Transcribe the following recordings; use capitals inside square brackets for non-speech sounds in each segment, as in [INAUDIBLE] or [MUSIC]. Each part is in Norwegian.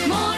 Morgenklubben med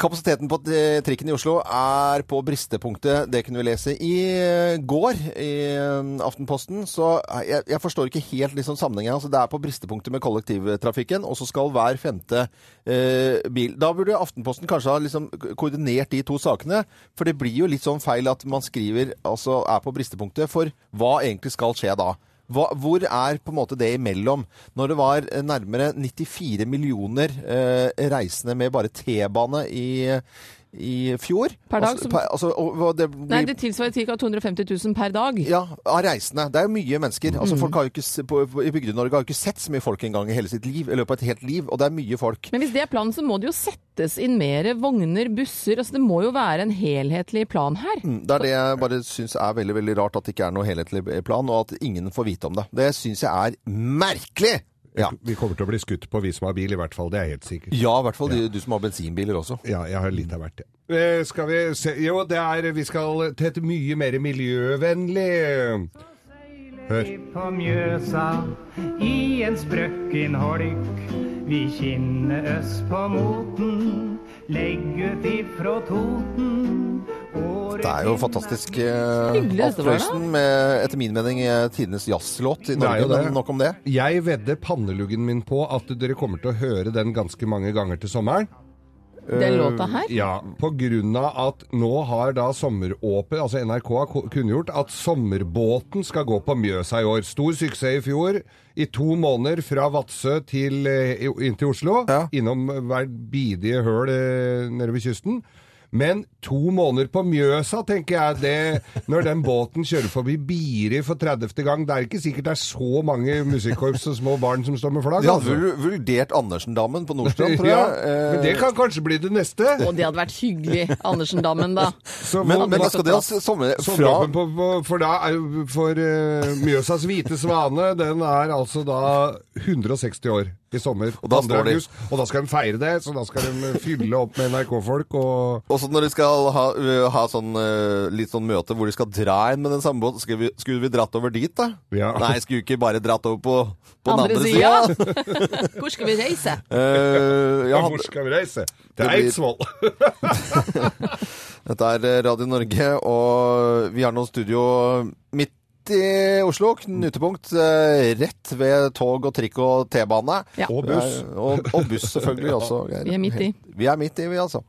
Kapasiteten på eh, trikken i Oslo er på bristepunktet. Det kunne vi lese i eh, går i eh, Aftenposten. Så eh, jeg, jeg forstår ikke helt liksom sammenhengen. Altså, det er på bristepunktet med kollektivtrafikken, og så skal hver femte eh, bil Da burde Aftenposten kanskje ha liksom koordinert de to sakene. For det blir jo litt sånn feil at man skriver altså er på bristepunktet, for hva egentlig skal skje da? Hva, hvor er på en måte det imellom? Når det var eh, nærmere 94 millioner eh, reisende med bare T-bane i, i fjor Per dag, Altså, så- per, altså, og, hva det blir, Nei, det tilsvarer ca. 250 000 per dag. Ja, av reisende. Det er jo mye mennesker. Altså, Mm. folk har jo ikke, s- på, på, I Bygde-Norge har jo ikke sett så mye folk engang i hele sitt liv, i løpet av et helt liv, og det er mye folk. Men hvis det er planen, så må det jo settes inn mer vogner, busser. Altså, det må jo være en helhetlig plan her. Det er det jeg bare syns er veldig veldig rart, at det ikke er noe helhetlig plan, og at ingen får vite om det. Det syns jeg er merkelig! Ja, Vi kommer til å bli skutt på, vi som har bil, i hvert fall. Det er helt sikkert. ja i hvert fall de- du som har bensinbiler også. Ja, jeg har litt av hvert, jeg. Eh, skal vi se Jo, det er Vi skal til et mye mer miljøvennlig Hør. på Mjøsa i en sprøkken holk. Vi kinner oss på moten, legg ut ifrå Toten. Det er jo fantastisk. eh, Hyggelig dette var, da. Aftenposten med, etter min mening, eh, tidenes jazzlåt i er Norge, jo det. men nok om det. Jeg vedder panneluggen min på at dere kommer til å høre den ganske mange ganger til sommeren. Den øh, låta her. Ja, på grunn av at nå har da sommeråpen, altså NRK har ko- kunngjort at sommerbåten skal gå på Mjøsa i år. Stor suksess i fjor. I to måneder fra Vadsø til, eh, i- inn til Oslo. Ja. Innom hver bidige høl eh, nede ved kysten. Men to måneder på Mjøsa, tenker jeg, det, når den båten kjører forbi Biri for 30. gang, det er ikke sikkert det er så mange musikkorps og små barn som står med flagg. De hadde altså. vul- vulgert Andersen-dammen på Nordstrand, [LAUGHS] tror jeg. Ja, Eh, men det kan kanskje bli det neste. Og det hadde vært hyggelig. Andersen-dammen, da. Så men, altså, men hvor- da hva- skal det ha s- sommer fra Sommeråpen Sånn på, på, for da er jo for eh, Mjøsas hvite svane, den er altså da 160 år i sommer. Og da 2. står de. august. Og da skal de feire det, så da skal de eh, fylle opp med NRK-folk og Også når de skal ha, ø, ha sånn, ø, litt sånn møte hvor de skal dra inn med den samme båten, skulle vi, skulle vi dratt over dit, da? Ja. Nei, skulle vi ikke bare dratt over på, [LAUGHS] på den Andre andre sida. sida? [LAUGHS] Hvor skal vi reise? Eh, jeg ja, hadde- Hvor skal vi reise? Til blir- [LAUGHS] Eidsvoll! Dette er eh, Radio Norge, og vi har nå studio midt i Oslo. Knutepunkt eh, rett ved tog og trikk og T-bane. Ja. Og buss. Eh, Og, og buss, [LAUGHS] selvfølgelig også. Geir. Vi er midt i. Vi er midt i, vi, altså.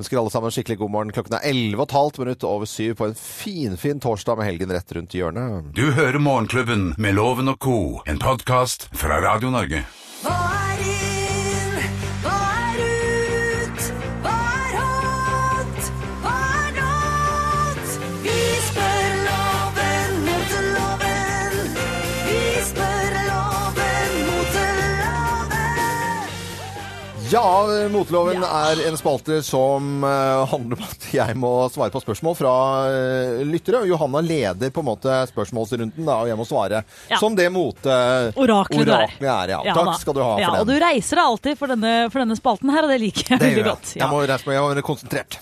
Ønsker alle sammen skikkelig god morgen. Klokken er 11,5 minutt over syv på en finfin fin torsdag med helgen rett rundt hjørnet. Du hører Morgenklubben med Loven og Co., en podkast fra Radio Norge. Hva er inn? Hva er ut? Hva er hot? Hva er not? Vi spør loven mot loven. Vi spør loven mot loven. Ja, Motloven er en spalte som eh, handler om at jeg må svare på spørsmål fra eh, lyttere. Og Johanna leder på en måte spørsmålsrunden, da, og jeg må svare Ja. som det moteoraklet Oraklet du er. er. Ja. Takk da. skal du ha ja, for Og du den. reiser deg alltid for denne, for denne spalten her, og det liker jeg Det veldig gjør jeg. godt. Jeg må reise meg, jeg må være konsentrert.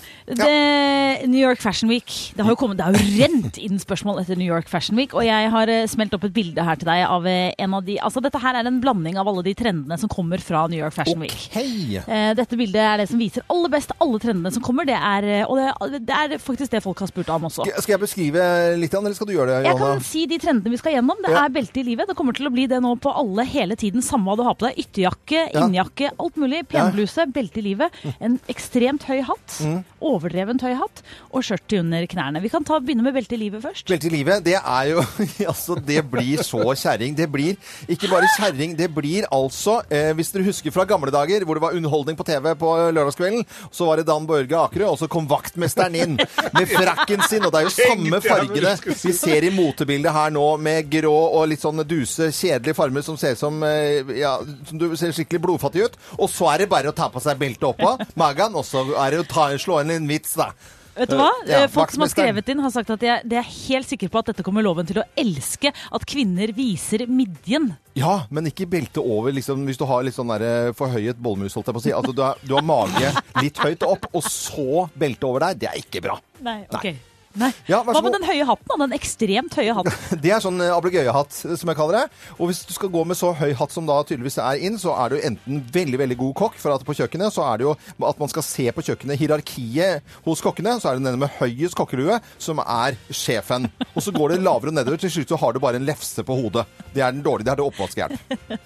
Det, New York Fashion Week. Det har jo kommet, det har jo rent inn spørsmål etter New York Fashion Week. Og jeg har eh, smelt opp et bilde her til deg av eh, en av de Altså, dette her er en blanding av alle de trendene som kommer fra New York Fashion Week. Hei! Eh, Dette bildet er det som viser aller best alle trendene som kommer. Det er, eh, og det, det er faktisk det folk har spurt om også. Skal jeg beskrive litt, Jan, eller skal du gjøre det, Jeg Johanna? kan si de trendene vi skal gjennom. Det Ja. er belte i livet. Det kommer til å bli det nå på alle hele tiden. Samme hva du har på deg. Ytterjakke, Ja. innjakke, alt mulig. Penbluse, belte i livet. En ekstremt høy hatt. Mm. Overdrevent høy hatt. Og skjørt til under knærne. Vi kan ta, begynne med belte i livet først. Belte i livet, det er jo [LAUGHS] Altså, det blir så kjerring. Det blir ikke bare kjerring, det blir altså eh, Hvis dere husker fra gamle dager hvor det var underholdning på TV på eh, lørdagskvelden, så var det Dan Børge Akerø, og så kom vaktmesteren inn med frakken sin, og det er jo samme fargene vi ser i motebildet her nå, med grå og litt sånn duse, kjedelige farger som ser som eh, Ja, som du ser skikkelig blodfattig ut. Og så er det bare å ta på seg beltet oppå magen, og så er det å ta, slå inn en vits, da. Vet du hva? Ja, Eh, Folk som vaktmesteren. har skrevet inn, har sagt at de er, de er helt sikre på at dette kommer loven til å elske. At kvinner viser midjen. Ja, men ikke belte over liksom, hvis du har litt sånn der, eh, forhøyet bollmus, holdt jeg på å si. Altså, du, har, du har mage litt høyt opp, og så belte over deg. Det er ikke bra. [LAUGHS] Nei, ok. Nei. Ja, vær så Hva med god. den høye hatten? da? Den ekstremt høye hatten. [LAUGHS] Det er sånn eh, ablegøyehatt, eh, som jeg kaller det. Og hvis du skal gå med så høy hatt som da tydeligvis er inn, så er du enten veldig, veldig god kokk, for at på kjøkkenet så er det jo at man skal se på kjøkkenet hierarkiet hos kokkene, så er det denne med høyest kokkelue som er sjefen. Og så går det lavere og nedover, til slutt så har du bare en lefse på hodet. Det er den dårlige, det er det oppvaskhjelp.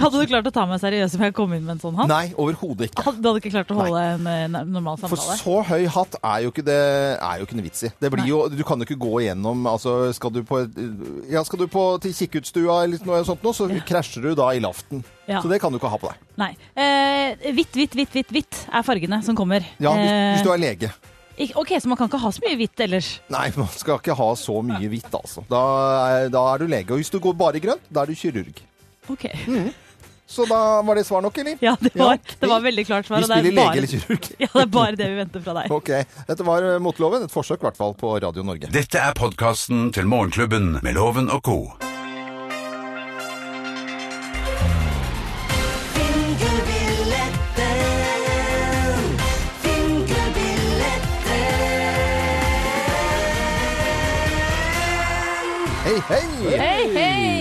Hadde du klart å ta meg seriøst om jeg kom inn med en sånn hatt? Nei, overhodet ikke. [LAUGHS] Hadde- Du hadde ikke klart å holde en eh, n- normal For samtale? så høy hatt er jo ikke det er jo ikke noe vits i. Det blir jo, du kan jo ikke gå igjennom altså Skal du på, ja, skal du på til kikkutstua eller noe sånt, nå, så krasjer du da i laften. Ja. Så det kan du ikke ha på deg. Nei. Eh, hvitt, hvitt, hvitt, hvitt hvitt er fargene som kommer. Ja, hvis, Eh, hvis du er lege. ikk- OK, så man kan ikke ha så mye hvitt ellers. Nei, man skal ikke ha så mye hvitt, altså. Da, er- da er du lege. Og hvis du går bare i grønt, da er du kirurg. OK. Så da var det svar nok, eller? Ja, det var, Mm. Ja, det var veldig klart svar. Vi og det er spiller bare- lege eller kirurg. [LAUGHS] [LAUGHS] Ja, det er bare det vi venter fra deg. Ok. Dette var eh, Motloven. Et forsøk, i hvert fall, på Radio Norge. Dette er podkasten til Morgenklubben med Loven og co. Fingerbilletten. Fingerbilletten. Hei, hei! Hei, hei!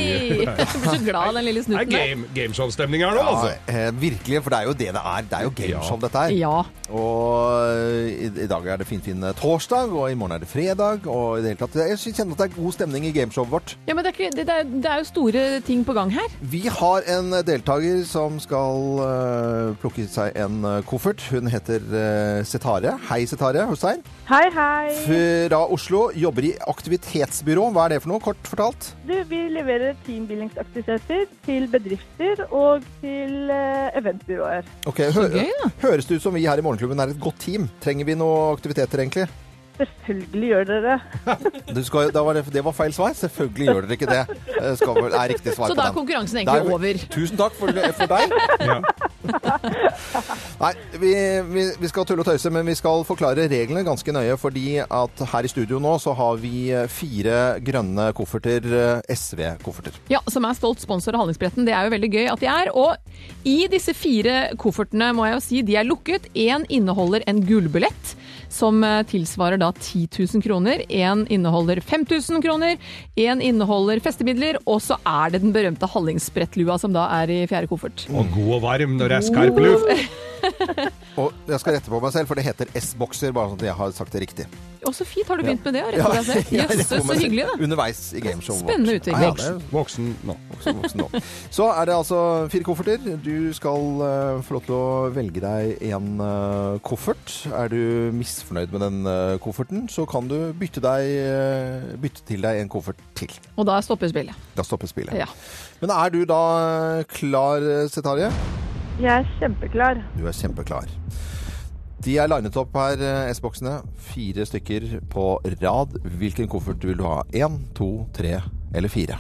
Jeg blir så glad av den lille Det er snutten der. game, gameshow-stemning her nå, Ja, altså. eh, virkelig, for det er jo det det er. Det er jo gameshow, dette her. Ja. Og eh, i, i dag er det finfin torsdag, og i morgen er det fredag, og i det hele tatt Jeg kjenner at det er god stemning i gameshowet vårt. ja, men det er, ikke, det, det, er, det er jo store ting på gang her. Vi har en deltaker som skal eh, plukke seg en eh, koffert. Hun heter eh, Setare. Hei, Setare Hussein. Hei, hei. Fra Oslo. Jobber i aktivitetsbyrå. Hva er det for noe, kort fortalt? Du, vi leverer teambuildingsaktiviteter til bedrifter og til eh, eventbyråer. Ok, hø gøy, da. Høres det ut som vi her i Morgenklubben er et godt team? Trenger vi noe aktiviteter, egentlig? Selvfølgelig gjør dere det. [LAUGHS] Du skal, da var det, det var feil svar. Selvfølgelig gjør dere ikke det. Eh, Skal, vel- er riktig svar Så på da den. er Da konkurransen er egentlig vi- over. Tusen takk for, for deg. Ja. Nei, vi, vi, vi skal tulle og tøyse, men vi skal forklare reglene ganske nøye. Fordi at her i studio nå så har vi eh, fire grønne kofferter, eh, SV-kofferter. Ja, som er stolt sponsor av Handlingsbretten. Det er jo veldig gøy at de er. Og i disse fire koffertene, må jeg jo si, de er lukket. Én inneholder en gullbillett, som eh, tilsvarer da 10 000 kroner. Én inneholder 5000 kroner. Én inneholder festemidler. Og så er det den berømte Hallingsbrettlua som da er i fjerde koffert. Og god og varm når det er skarp luft. Og jeg skal rette på meg selv, for det heter S-bokser, bare sånn at jeg har sagt det riktig. Å, så fint. Har du begynt med det? å rette deg [LAUGHS] [LAUGHS] selv? jeg Jøsses, retter på meg så hyggelig, selv da. Underveis i gameshowet vårt. Spennende utvikling. Ja, ja, det er Voksen nå. som voksen nå. Så er det altså fire kofferter. Du skal eh, få lov til å velge deg en eh, koffert. Er du misfornøyd med den eh, kofferten, så kan du bytte, deg, eh, bytte til deg en koffert til. Og da stopper spillet. Da stopper spillet. Ja. Men er du da eh, klar, eh, Setarie? Jeg er kjempeklar. Du er kjempeklar. De er linet opp her, eh, S-boksene. Fire stykker på rad. Hvilken koffert vil du ha? Én, to, tre eller fire?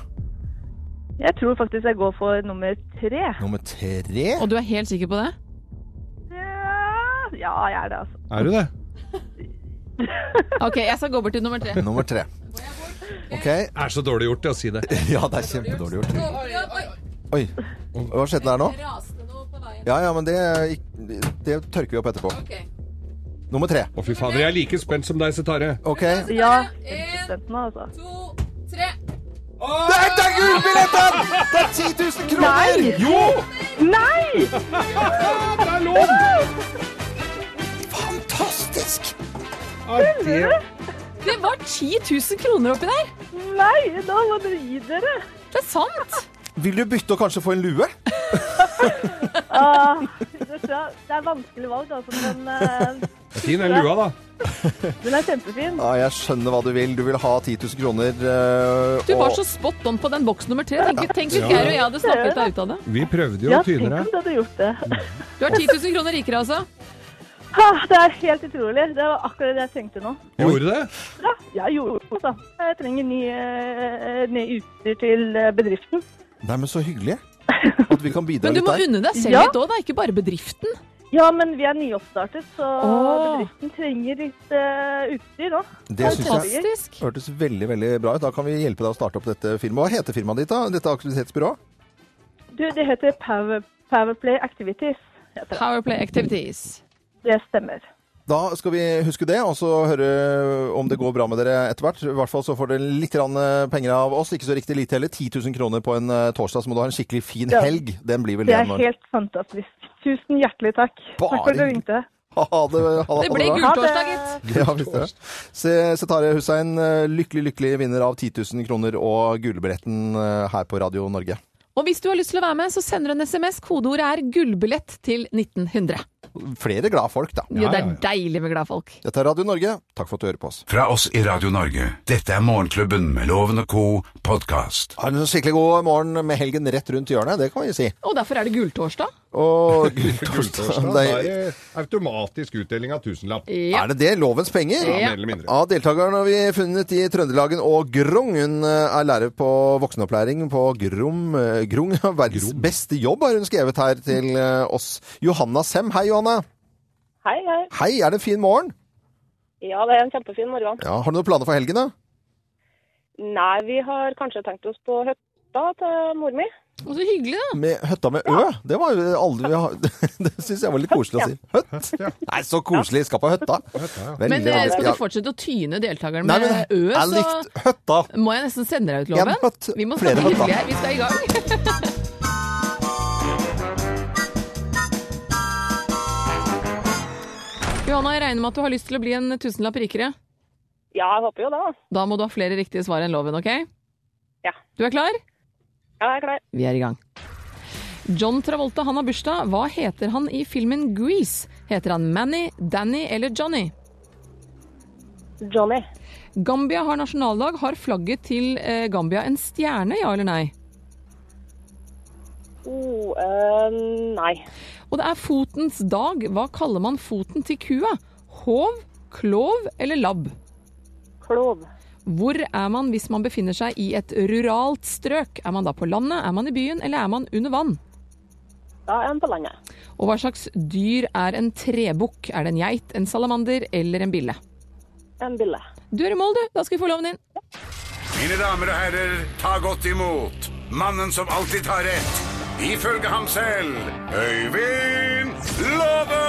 Jeg tror faktisk jeg går for nummer tre. Nummer tre. Og du er helt sikker på det? Ja, jeg er det, altså. Er du det? Ok, jeg skal gå bort til nummer tre. Nummer tre. Ok. Er så dårlig gjort å si det. [LAUGHS] Ja, det er kjempedårlig gjort. Oi. Hva skjedde der nå? Raste noe på veien. Ja, ja, men det, det tørker vi opp etterpå. Ok. Nummer tre. Å, fy fader, jeg er like spent som deg, Setare. Ok. Ja, En, studentene, altså. to, tre. Der, det er gullbilletten! Det er 10 000 kroner! Nei! Jo! Nei! Det er lov! Fantastisk! Er det Det var 10 000 kroner oppi der! Nei! Da må dere gi dere. Det er sant! Vil du bytte og kanskje få en lue? Ah, vet du hva, det er vanskelig valg, altså, men eh, Fin den lua, da. den er kjempefin. Ja, jeg skjønner hva du vil. Du vil ha 10 000 kroner. eh, Du var og- så spot on på den boks nummer tre. Tenk, tenk hvis Geir og jeg hadde snakket deg ut av det. Vi prøvde jo Ja, å tenk tyne om deg. du hadde gjort det. Du er 10 000 kroner rikere, altså. Ah, det er helt utrolig. Det var akkurat det jeg trengte nå. Gjorde det? Ja, jeg gjorde det, altså. Jeg trenger ny, eh, ny utstyr til eh, bedriften. Nei, men så [LAUGHS] hyggelig. At vi kan bidra Men du litt må der. unne deg selv Ja. litt òg, da. Ikke bare bedriften. Ja, men vi er nyoppstartet, så Åh. bedriften trenger litt eh, utstyr nå. Det synes jeg Fantastisk. hørtes veldig veldig bra ut. Da kan vi hjelpe deg å starte opp dette firmaet. Hva heter firmaet ditt, da? Dette aktivitetsbyrået? Du, det heter Power, Powerplay Activities. Heter det. Powerplay activities. det stemmer. Da skal vi huske det, og så høre om det går bra med dere etter hvert. I hvert fall så får dere litt grann eh, penger av oss. Ikke så riktig lite heller. 10 000 kroner på en eh, torsdag, så må du ha en skikkelig fin Ja. helg. Den blir vel Det det. er når- helt fantastisk. Tusen hjertelig takk. Bare Takk for at du hyggelig. ringte. [LAUGHS] Ha det. Ha det Det ble bra. Ha gultorsdag, det. gitt. Ja, visst det. Se- Setare Hussein, eh, lykkelig, lykkelig vinner av 10 000 kroner og gullbilletten eh, her på Radio Norge. Og hvis du har lyst til å være med, så sender du en SMS. Kodeordet er 'gullbillett' til 1900. Flere glade folk, da. Jo, det ja, er ja. deilig med gladfolk. Dette er Radio Norge. Takk for at du hører på oss. Fra oss i Radio Norge. Dette er Morgenklubben med Loven og co. podkast. Ha en skikkelig god morgen med helgen rett rundt hjørnet, det kan vi si. Og derfor er det gultorsdag. Og Gulltorsdag. gulltorsdag Da det er er- det automatisk utdeling av tusenlapp. Ja. Er det det? Lovens penger? Ja, mer eller mindre. Av deltakerne har vi funnet i Trøndelagen og Grong. Hun eh, er lærer på voksenopplæring på Grom. eh, Grong verdens beste jobb, har hun skrevet her til eh, oss. Johanna Sem. Hei, Johanna. Hei, hei. Hei, er det en fin morgen? Ja, det er en kjempefin morgen. Ja, har du noen planer for helgen, da? Nei, vi har kanskje tenkt oss på hytta til mor mi. Og så hyggelig, da. Med høtta med Ø? Det var jo aldri vi har [LAUGHS] Det syns jeg var litt koselig å si. Høtt? Nei, så koselig. Skal på høtta. Veldig, Men eh, veldig- skal ja. du fortsette å tyne deltakerne Nei, med men Ø, jeg så likte høtta. må jeg nesten sende deg ut En høtt, loven. Vi må flere snakke høtter. hyggelig her. Vi skal i gang. [LAUGHS] Johanna, jeg regner med at du har lyst til å bli en tusenlapp rikere. Ja, jeg håper jo det. da. Da må du ha flere riktige svar enn loven, OK? Ja. Du er klar? Ja, jeg er klar. Vi er i gang. John Travolta, han har bursdag. Hva heter han i filmen Grease? Heter han Manny, Danny eller Johnny? Johnny. Gambia har nasjonaldag. Har flagget til eh, Gambia en stjerne, ja eller nei? Oh, eh, nei. Og det er fotens dag. Hva kaller man foten til kua? Hov, klov eller labb? Klov. Hvor er man hvis man befinner seg i et ruralt strøk? Er man da på landet, er man i byen, eller er man under vann? Da er en på landet. Og hva slags dyr er en trebukk? Er det en geit, en salamander eller en bille? En bille. Du er i mål, du. Da skal vi få loven din. Mine damer og herrer, ta godt imot mannen som alltid tar rett. Ifølge ham selv Øyvind Låve!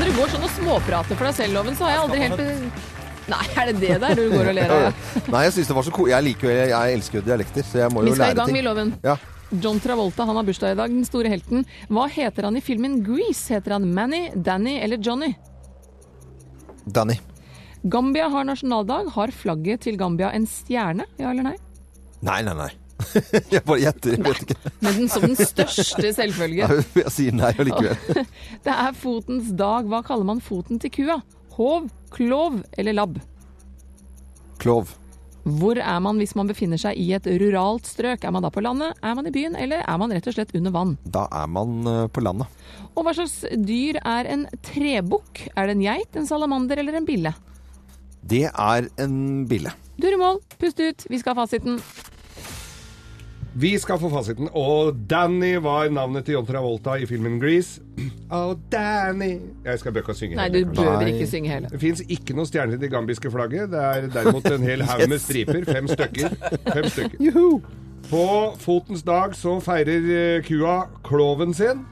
Når du går sånn og småprater for deg selv, Loven, så har jeg aldri helt be- Nei, er det det der du går og ler av? Nei, jeg syns det var så ko... Jeg liker jo Jeg elsker jo dialekter, så jeg må Vi jo skal i lære gang, vi, ting. Loven. Ja. John Travolta han har bursdag i dag, den store helten. Hva heter han i filmen Grease? Heter han Manny, Danny eller Johnny? Danny. Gambia har nasjonaldag. Har flagget til Gambia en stjerne, ja eller nei? Nei, nei, [LAUGHS] nei. Jeg bare gjetter. Jeg vet ikke. Men den som den største selvfølge. [LAUGHS] Jeg sier nei allikevel. [LAUGHS] Det er fotens dag. Hva kaller man foten til kua? Hov, klov eller labb? Klov. Hvor er man hvis man befinner seg i et ruralt strøk? Er man da på landet, er man i byen, eller er man rett og slett under vann? Da er man eh, på landet. Og hva slags dyr er en trebukk? Er det en geit, en salamander eller en bille? Det er en bille. Du er i mål, pust ut, vi skal ha fasiten. Vi skal få fasiten. Og Danny var navnet til John Travolta i filmen Grease. [CLEARS THROAT] Oh, Danny Jeg skal bøkke og synge. Nei, du hele, kanskje. behøver ikke synge hele. Det fins ikke noen stjerner i det gambiske flagget. Det er derimot en hel haug med striper. Fem stykker. Fem stykker. På fotens dag så feirer eh, kua kloven sin.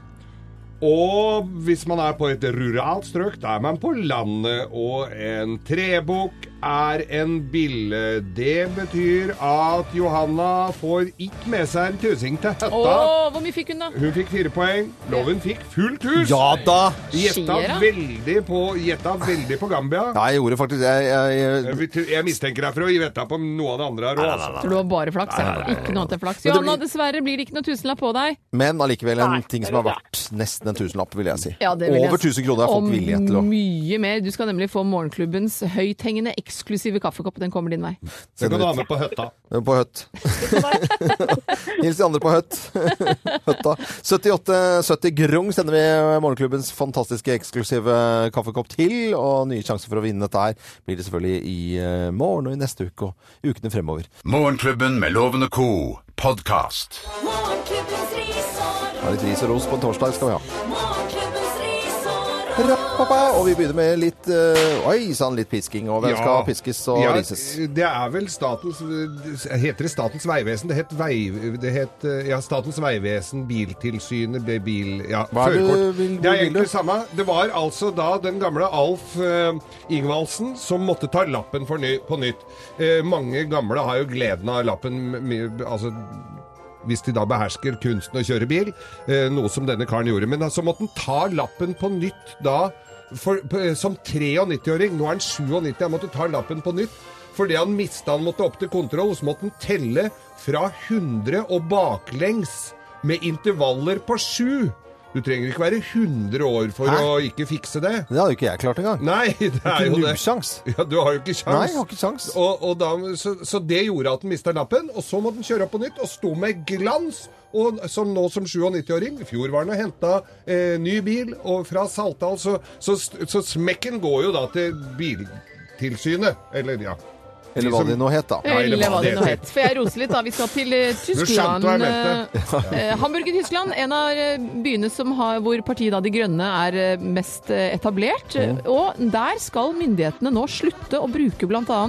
Og hvis man er på et ruralt strøk, da er man på landet. Og en trebukk er en bille. Det betyr at Johanna får ikke med seg en tusing til Å, høtta. hvor mye fikk hun, da? Hun fikk fire poeng. Loven fikk fullt hus. Ja da! Gjetta Skier, da. veldig på, gjetta veldig på Gambia. Nei, jeg gjorde faktisk Jeg, jeg, jeg Jeg Eh, jeg mistenker deg for å gjette på noe av det andre her òg, altså. Tror du var bare flaks? ja. Ikke noe annet enn flaks. Men det Johanna, blir- dessverre blir det ikke noe tusenlapp på deg. Men allikevel en ting som er verdt nesten en tusenlapp, vil jeg si. Ja, det vil jeg Over si. 1000 kroner er folk Og villige til å mye mer. Du skal nemlig få morgenklubbens høythengende eksklusive kaffekopp. Den kommer din vei. Det kan du ha med på høtta. Eh, På Høtt. [LAUGHS] Hils de andre på Høtt. [LAUGHS] Høtta. 7870 Grung sender vi eh, morgenklubbens fantastiske eksklusive eh, kaffekopp til. Og nye sjanser for å vinne dette her blir det selvfølgelig i eh, morgen og i neste uke og ukene fremover. Morgenklubben med Loven og Co. podkast. Morgenklubbens ris og Da er litt ris og ros på en torsdag skal vi ha. Morgenklubbens ris og Rappappa. Og vi begynner med litt eh, Oi sann, litt pisking. Og hvem skal piskes og Ja, rises? Det er vel Statens Heter det Statens vegvesen? Det het, vei, det het eh, ja, Statens vegvesen, Biltilsynet, be- bil... Ja, Hva er det førerkort. vil- hvor Det er vil du? egentlig det samme. Det var altså da den gamle Alf eh, Ingvaldsen som måtte ta lappen for ny, på nytt. Eh, mange gamle har jo gleden av lappen mye- altså hvis de da behersker kunsten å kjøre bil, eh, noe som denne karen gjorde. Men da, så måtte han ta lappen på nytt da, for, på, eh, som 93-åring. Nå er han 97, han måtte ta lappen på nytt. Fordi han mista han måtte opp til kontroll, så måtte han telle fra 100 og baklengs med intervaller på 7. Du trenger ikke være 100 år for Hæ? å ikke fikse det. Det hadde jo ikke jeg klart engang. Nei, [LAUGHS] det er jo det. Nubbsjans. [LAUGHS] Ja, du har jo ikke sjans. Nei, jeg har ikke sjans. Og, og da, så, så det gjorde at den mista lappen, og så måtte den kjøre opp på nytt, og sto med glans. Og som nå som 97-åring, i fjor var han og henta eh, ny bil og fra Saltdal, så, så, så smekken går jo da til Biltilsynet. Eller, ja. Eller hva de nå het, da. Ja, eller Eller hva hva det det nå heter. het. For jeg roser litt, da. Vi skal til eh, skjønte Tyskland. hva jeg mente. eh, eh, Hamburg i Tyskland, en av eh, byene som har, hvor partiet da De Grønne er eh, mest eh, etablert. Mm. Og der skal myndighetene nå slutte å bruke bl.a.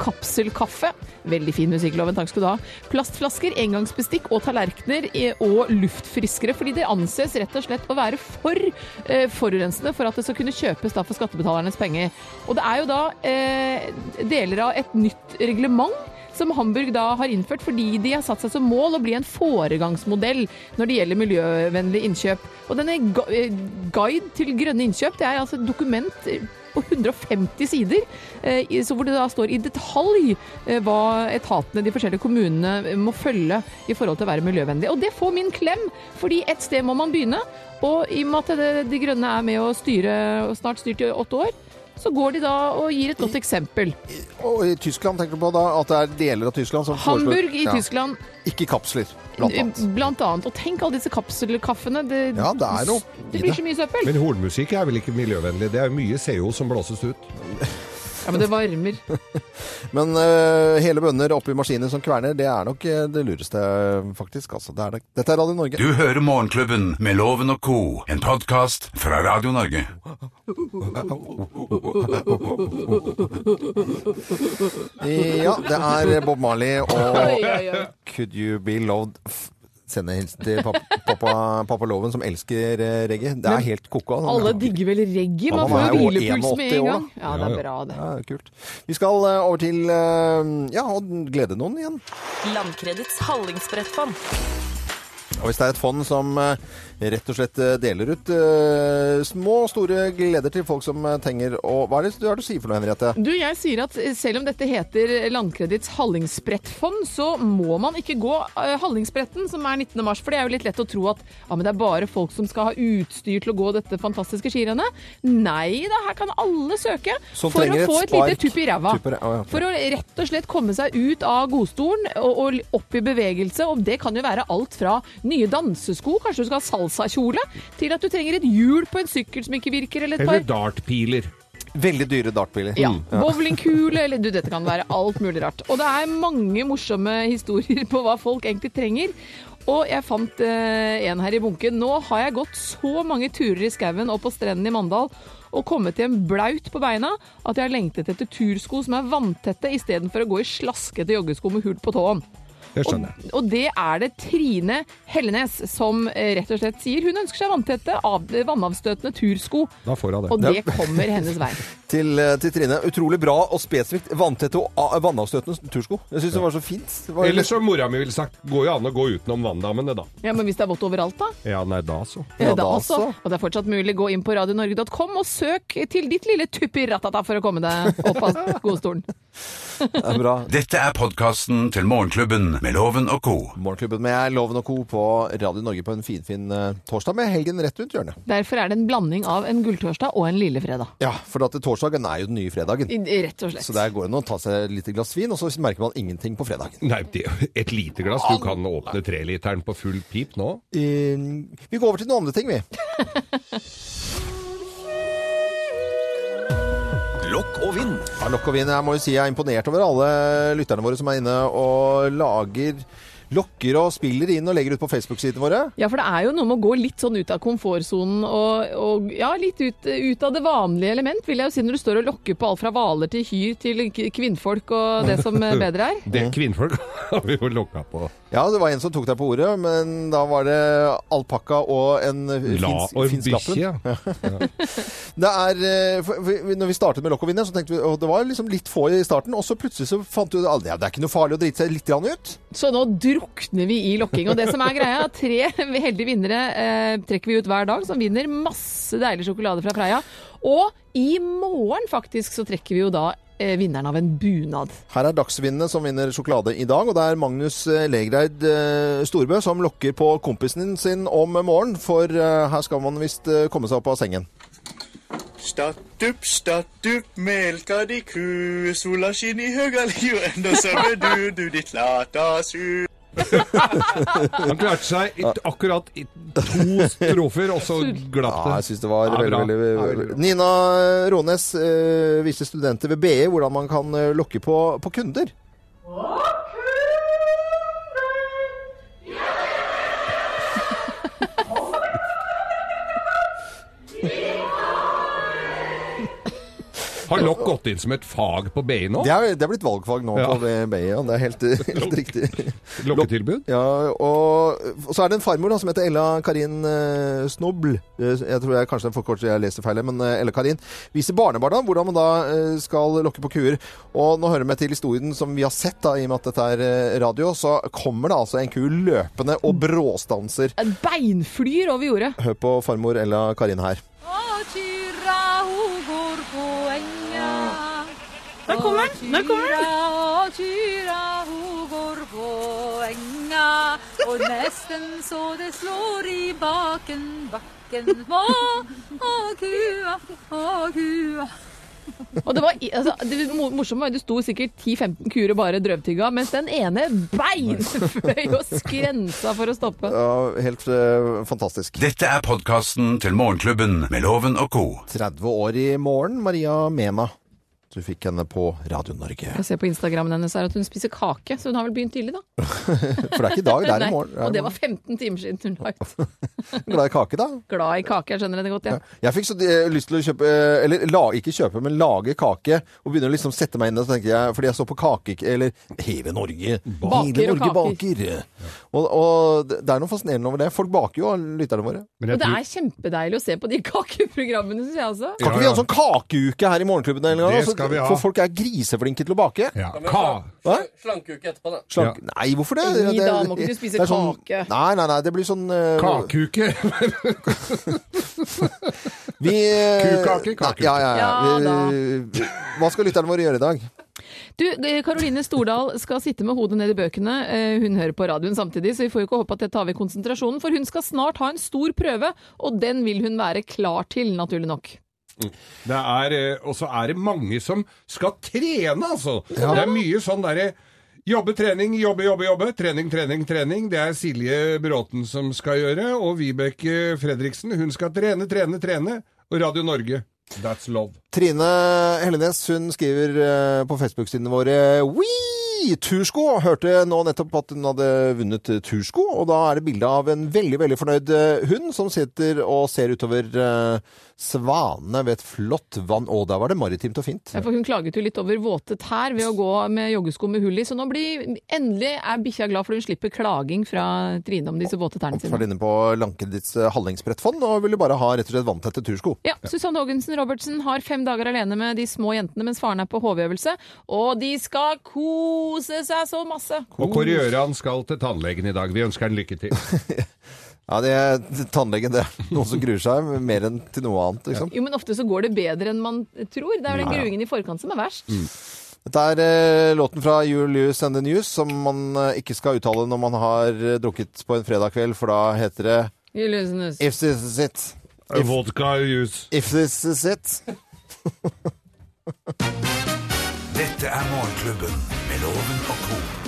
kapselkaffe. Veldig fin musikkloven, takk skal du ha. Plastflasker, engangsbestikk og tallerkener eh, og luftfriskere. Fordi det anses rett og slett å være for eh, forurensende for at det skal kunne kjøpes da for skattebetalernes penger. Og det er jo da eh, deler av et nytt reglement som Hamburg da har innført fordi de har satt seg som mål å bli en foregangsmodell når det gjelder miljøvennlig innkjøp. Og denne gu- eh, guide til grønne innkjøp, det er altså et dokument på 150 sider, eh, i- så hvor det da står i detalj eh, hva etatene, de forskjellige kommunene, eh, må følge i forhold til å være miljøvennlig. Og det får min klem, fordi et sted må man begynne. Og i og med at det- De Grønne er med å styre, og snart styrt i åtte år, så går de da og gir et godt eksempel. Og i Tyskland tenker du på da at det er deler av Tyskland som foreslår- Hamburg i Ja. Tyskland Ikke kapsler, blant Mm. annet. Eh, Blant annet. Og tenk alle disse kapselkaffene. Det, Ja, det er noe i det det. blir så mye søppel. Men hornmusikk er vel ikke miljøvennlig? Det er jo mye CO som blåses ut. Ja, men [LAUGHS] det varmer. Men øh, hele bønner oppi maskiner som kverner, det er nok øh, det lureste, øh, faktisk. Altså, det er det. Dette er Radio Norge. Du hører Morgenklubben med Loven og Co., en podkast fra Radio Norge. Ja, det er Bob Marley og Oi, oi, oi. Could You Be Loved. F- Sende hilsen til pappa, pappa, pappa Loven, som elsker øh, reggae. Det er helt koko. altså. Alle digger vel reggae? Ja, Man får man er jo jo hvilepuls 81 med en år, gang. Ja, det er bra, det. Ja, kult. Vi skal øh, over til øh, ja, å glede noen igjen. Landkredits hallingsbrettfond. Og hvis det er et fond som eh, rett og slett eh, deler ut eh, små og store gleder til folk som eh, trenger å Hva er det du, er det du sier for noe, Henriette? Du, jeg sier at eh, selv om dette heter Landkredits Hallingsbrettfond, så må man ikke gå eh, Hallingsbretten, som er 19. mars. For det er jo litt lett å tro at ja, men det er bare folk som skal ha utstyr til å gå dette fantastiske skirennet. Nei da, her kan alle søke Som for å trenger et få et spark. lite tupp i ræva. Tupp i ræ- å, ja. For å rett og slett komme seg ut av godstolen og, og opp i bevegelse. Og det kan jo være alt fra nye dansesko, kanskje du skal ha salsakjole, til at du trenger et hjul på en sykkel som ikke virker, eller et par Eller dartpiler. Veldig dyre dartbiler. Ja. Mm. Bowlingkule, eller du, dette kan være alt mulig rart. Og det er mange morsomme historier på hva folk egentlig trenger. Og jeg fant eh, en her i bunken. Nå har jeg gått så mange turer i skauen og på strendene i Mandal og kommet hjem blaut på beina at jeg har lengtet etter tursko som er vanntette, istedenfor å gå i slaskete joggesko med hull på tåen. Det skjønner Og, jeg. og det er det Trine Hellenes som eh, rett og slett sier. Hun ønsker seg vanntette, av, vannavstøtende tursko. Da får hun det. Og det kommer hennes vei. Til, eh, til Trine. Utrolig bra og spesifikt vanntette og a- vannavstøtende tursko. Jeg syns det var så fint. Det var Eller som mora mi ville sagt, går jo an å gå utenom vanndammene, da. Ja, Men hvis det er vått overalt, da? Ja, nei, da så. Ja, da da altså. så. Og det er fortsatt mulig. Gå inn på radionorge.com og søk til ditt lille tuppi-ratata for å komme deg opp [LAUGHS] av godstolen. det er bra. Dette er podkasten til Morgenklubben med Loven og co. Morgenklubben med Loven og Co. på Radio Norge på en finfin eh, torsdag med helgen rett rundt hjørnet. Derfor er det en blanding av en gulltorsdag og en lillefredag. Ja, for at torsdagen er jo den nye fredagen. I- Rett og slett. Så der går det an å ta seg et lite glass vin, og så merker man ingenting på fredagen. Nei, det, et lite glass. Du kan åpne treliteren på full pip nå. Eh, vi går over til noen andre ting, vi. Lokk og vinn. Ja, lokk og vin. Jeg må jo si jeg er imponert over alle lytterne våre som er inne og lager Lokker og spiller inn og legger ut på Facebook-sidene våre. Ja, for det er jo noe med å gå litt sånn ut av komfortsonen og, og ja, litt ut, ut av det vanlige element, vil jeg jo si, når du står og lokker på alt fra hvaler til hyr til k- kvinnfolk og det [LAUGHS] som eh, bedre er. Det kvinnfolk [LAUGHS] har vi jo lokka på. Ja, det var en som tok deg på ordet, men da var det alpakka og en La fins- og finsk lappen. bikkje. ja. Det er, eh, for- for- Når vi startet med lokk og vinner, så tenkte vi at det var liksom litt få i starten, og så plutselig så fant du ut at ja, det er ikke noe farlig å drite seg litt grann ut. Så nå drukner vi i lokking. Og det som er greia, er tre [LAUGHS] heldige vinnere eh, trekker vi ut hver dag, som vinner masse deilig sjokolade fra Freia. Og i morgen faktisk så trekker vi jo da eh, vinneren av en bunad. Her er dagsvinnene som vinner sjokolade i dag, og det er Magnus eh, Legreid eh, Storbø som lokker på kompisen sin om morgenen, for eh, her skal man visst eh, komme seg opp av sengen. Statt opp, statt opp, melka di ku. Sola skinner i høga li, og enda sover du, du ditt lata su. Han klarte seg i, akkurat i to strofer, og så glapp Ja, jeg det. syns det var Ja, veldig, bra. veldig, Ja, veldig bra. Nina Rånes eh, viser studenter ved BI hvordan man kan eh, lokke på, på kunder. Har lokk gått inn som et fag på BI nå? Det er, det er blitt valgfag nå Ja. på BI, og det er helt, [LAUGHS] helt riktig. Lokketilbud? Ja, og, og så er det en farmor da, som heter Ella Karin eh, Snobl. Eh, Jeg tror jeg kanskje den forkorter jeg leser feil, her, men eh, Ella Karin viser barnebarna hvordan man da eh, skal lokke på kuer. Og nå hører vi til historien som vi har sett, da, i og med at dette er eh, radio, så kommer det altså en ku løpende og bråstanser. Et beinflyr over jordet. Hør på farmor Ella Karin her. Og kyrra hun går på enga. Der kommer den! Der kommer den! Og kyrra hun går på enga. Og nesten så det slår i baken, bakken må. Og kua, og kua. Og det var i- altså, det mo- morsomme var jo det sto sikkert 10-15 kuer og bare drøvtygga, mens den ene beinfløy og skrensa for å stoppe. Ja, helt eh, fantastisk. Dette er podkasten til Morgenklubben med Loven og co. 30 år i morgen, Maria Mena. Du fikk henne på Radio Norge. [LAUGHS] Jeg ser på Instagrammen hennes her at hun spiser kake, så hun har vel begynt tidlig, da. For det er ikke i dag, det er Nei, i morgen. og det var 15 timer siden hun la ut. Glad i kake, da? Glad i kake, jeg skjønner henne godt, jeg. Ja. Jeg fikk så eh, lyst til å kjøpe eh, Eller la, ikke kjøpe, men lage kake. Og begynne å liksom sette meg inn der, så tenkte jeg Fordi jeg så på kake... Eller Hele Norge Baker Hele og Norge kaker. baker. Og, og det det er noe fascinerende over det. Folk baker jo, lytterne våre. Men Og jeg det tror, er kjempedeilig å se på de [LAUGHS] kakeprogrammene, syns jeg også. Kan Ja, ikke vi ha ja. en sånn kakeuke her i Morgenklubben? en gang, Det altså? skal vi ha. For folk er griseflinke til å bake. ja. Ka, Slankeuke etterpå, da. Slank. Nei, hvorfor det? Nei, Det- da må ikke du spise det er sånn, kake. Nei, nei, nei, det blir sånn eh, kakeuke. vi, eh, Kukake, Nei, kakeuke. Ja, ja, ja. Ja, Vi- Hva skal lytterne våre gjøre i dag? Du, det- Karoline Stordal skal sitte med hodet ned i bøkene. Eh, Hun hører på radioen samtidig, så vi får jo ikke håpe at det tar ved konsentrasjonen. For hun skal snart ha en stor prøve, og den vil hun være klar til, naturlig nok. Det er, eh, og så er det mange som skal trene, altså. Det er mye sånn derre Jobbe, trening, jobbe, jobbe, jobbe. Trening, trening, trening. Det er Silje Bråten som skal gjøre, og Vibeke Fredriksen. Hun skal trene, trene, trene. Og Radio Norge. That's love. Trine Hellenes hun skriver eh, på Facebook-sidene våre Wii! Tursko! Hørte nå nettopp at hun hadde vunnet eh, tursko, og da er det bilde av en veldig veldig fornøyd eh, hund som sitter og ser utover eh, svanene ved et flott vann. Å, der var det maritimt og fint. Ja, for hun klaget jo litt over våte tær ved å gå med joggesko med hull i, så nå blir endelig er bikkja glad for hun slipper klaging fra Trine om disse våte tærne Vært sine. inne på Lankedits eh, hallingsbrettfond og ville bare ha rett og slett vanntette tursko. Ja, Susanne Haagensen Robertsen har fem dager alene med de små jentene mens faren er på HV-øvelse, og de skal kose seg så masse! Og Kåre Gjøran skal til tannlegen i dag. Vi ønsker han lykke til. Ja, det er tannlegen, det er noen som gruer seg mer enn til noe annet, liksom. Jo, men ofte så går det bedre enn man tror. Det er jo den Ja, Mm. ja. gruingen i forkant som er verst. Dette er eh, låten fra Julius and the News, som man eh, ikke skal uttale når man har eh, drukket på en fredag kveld, for da heter det If this is it. If, [LAUGHS] Vodka juice. if this is it. Dette er Morgenklubben med Loven og Co.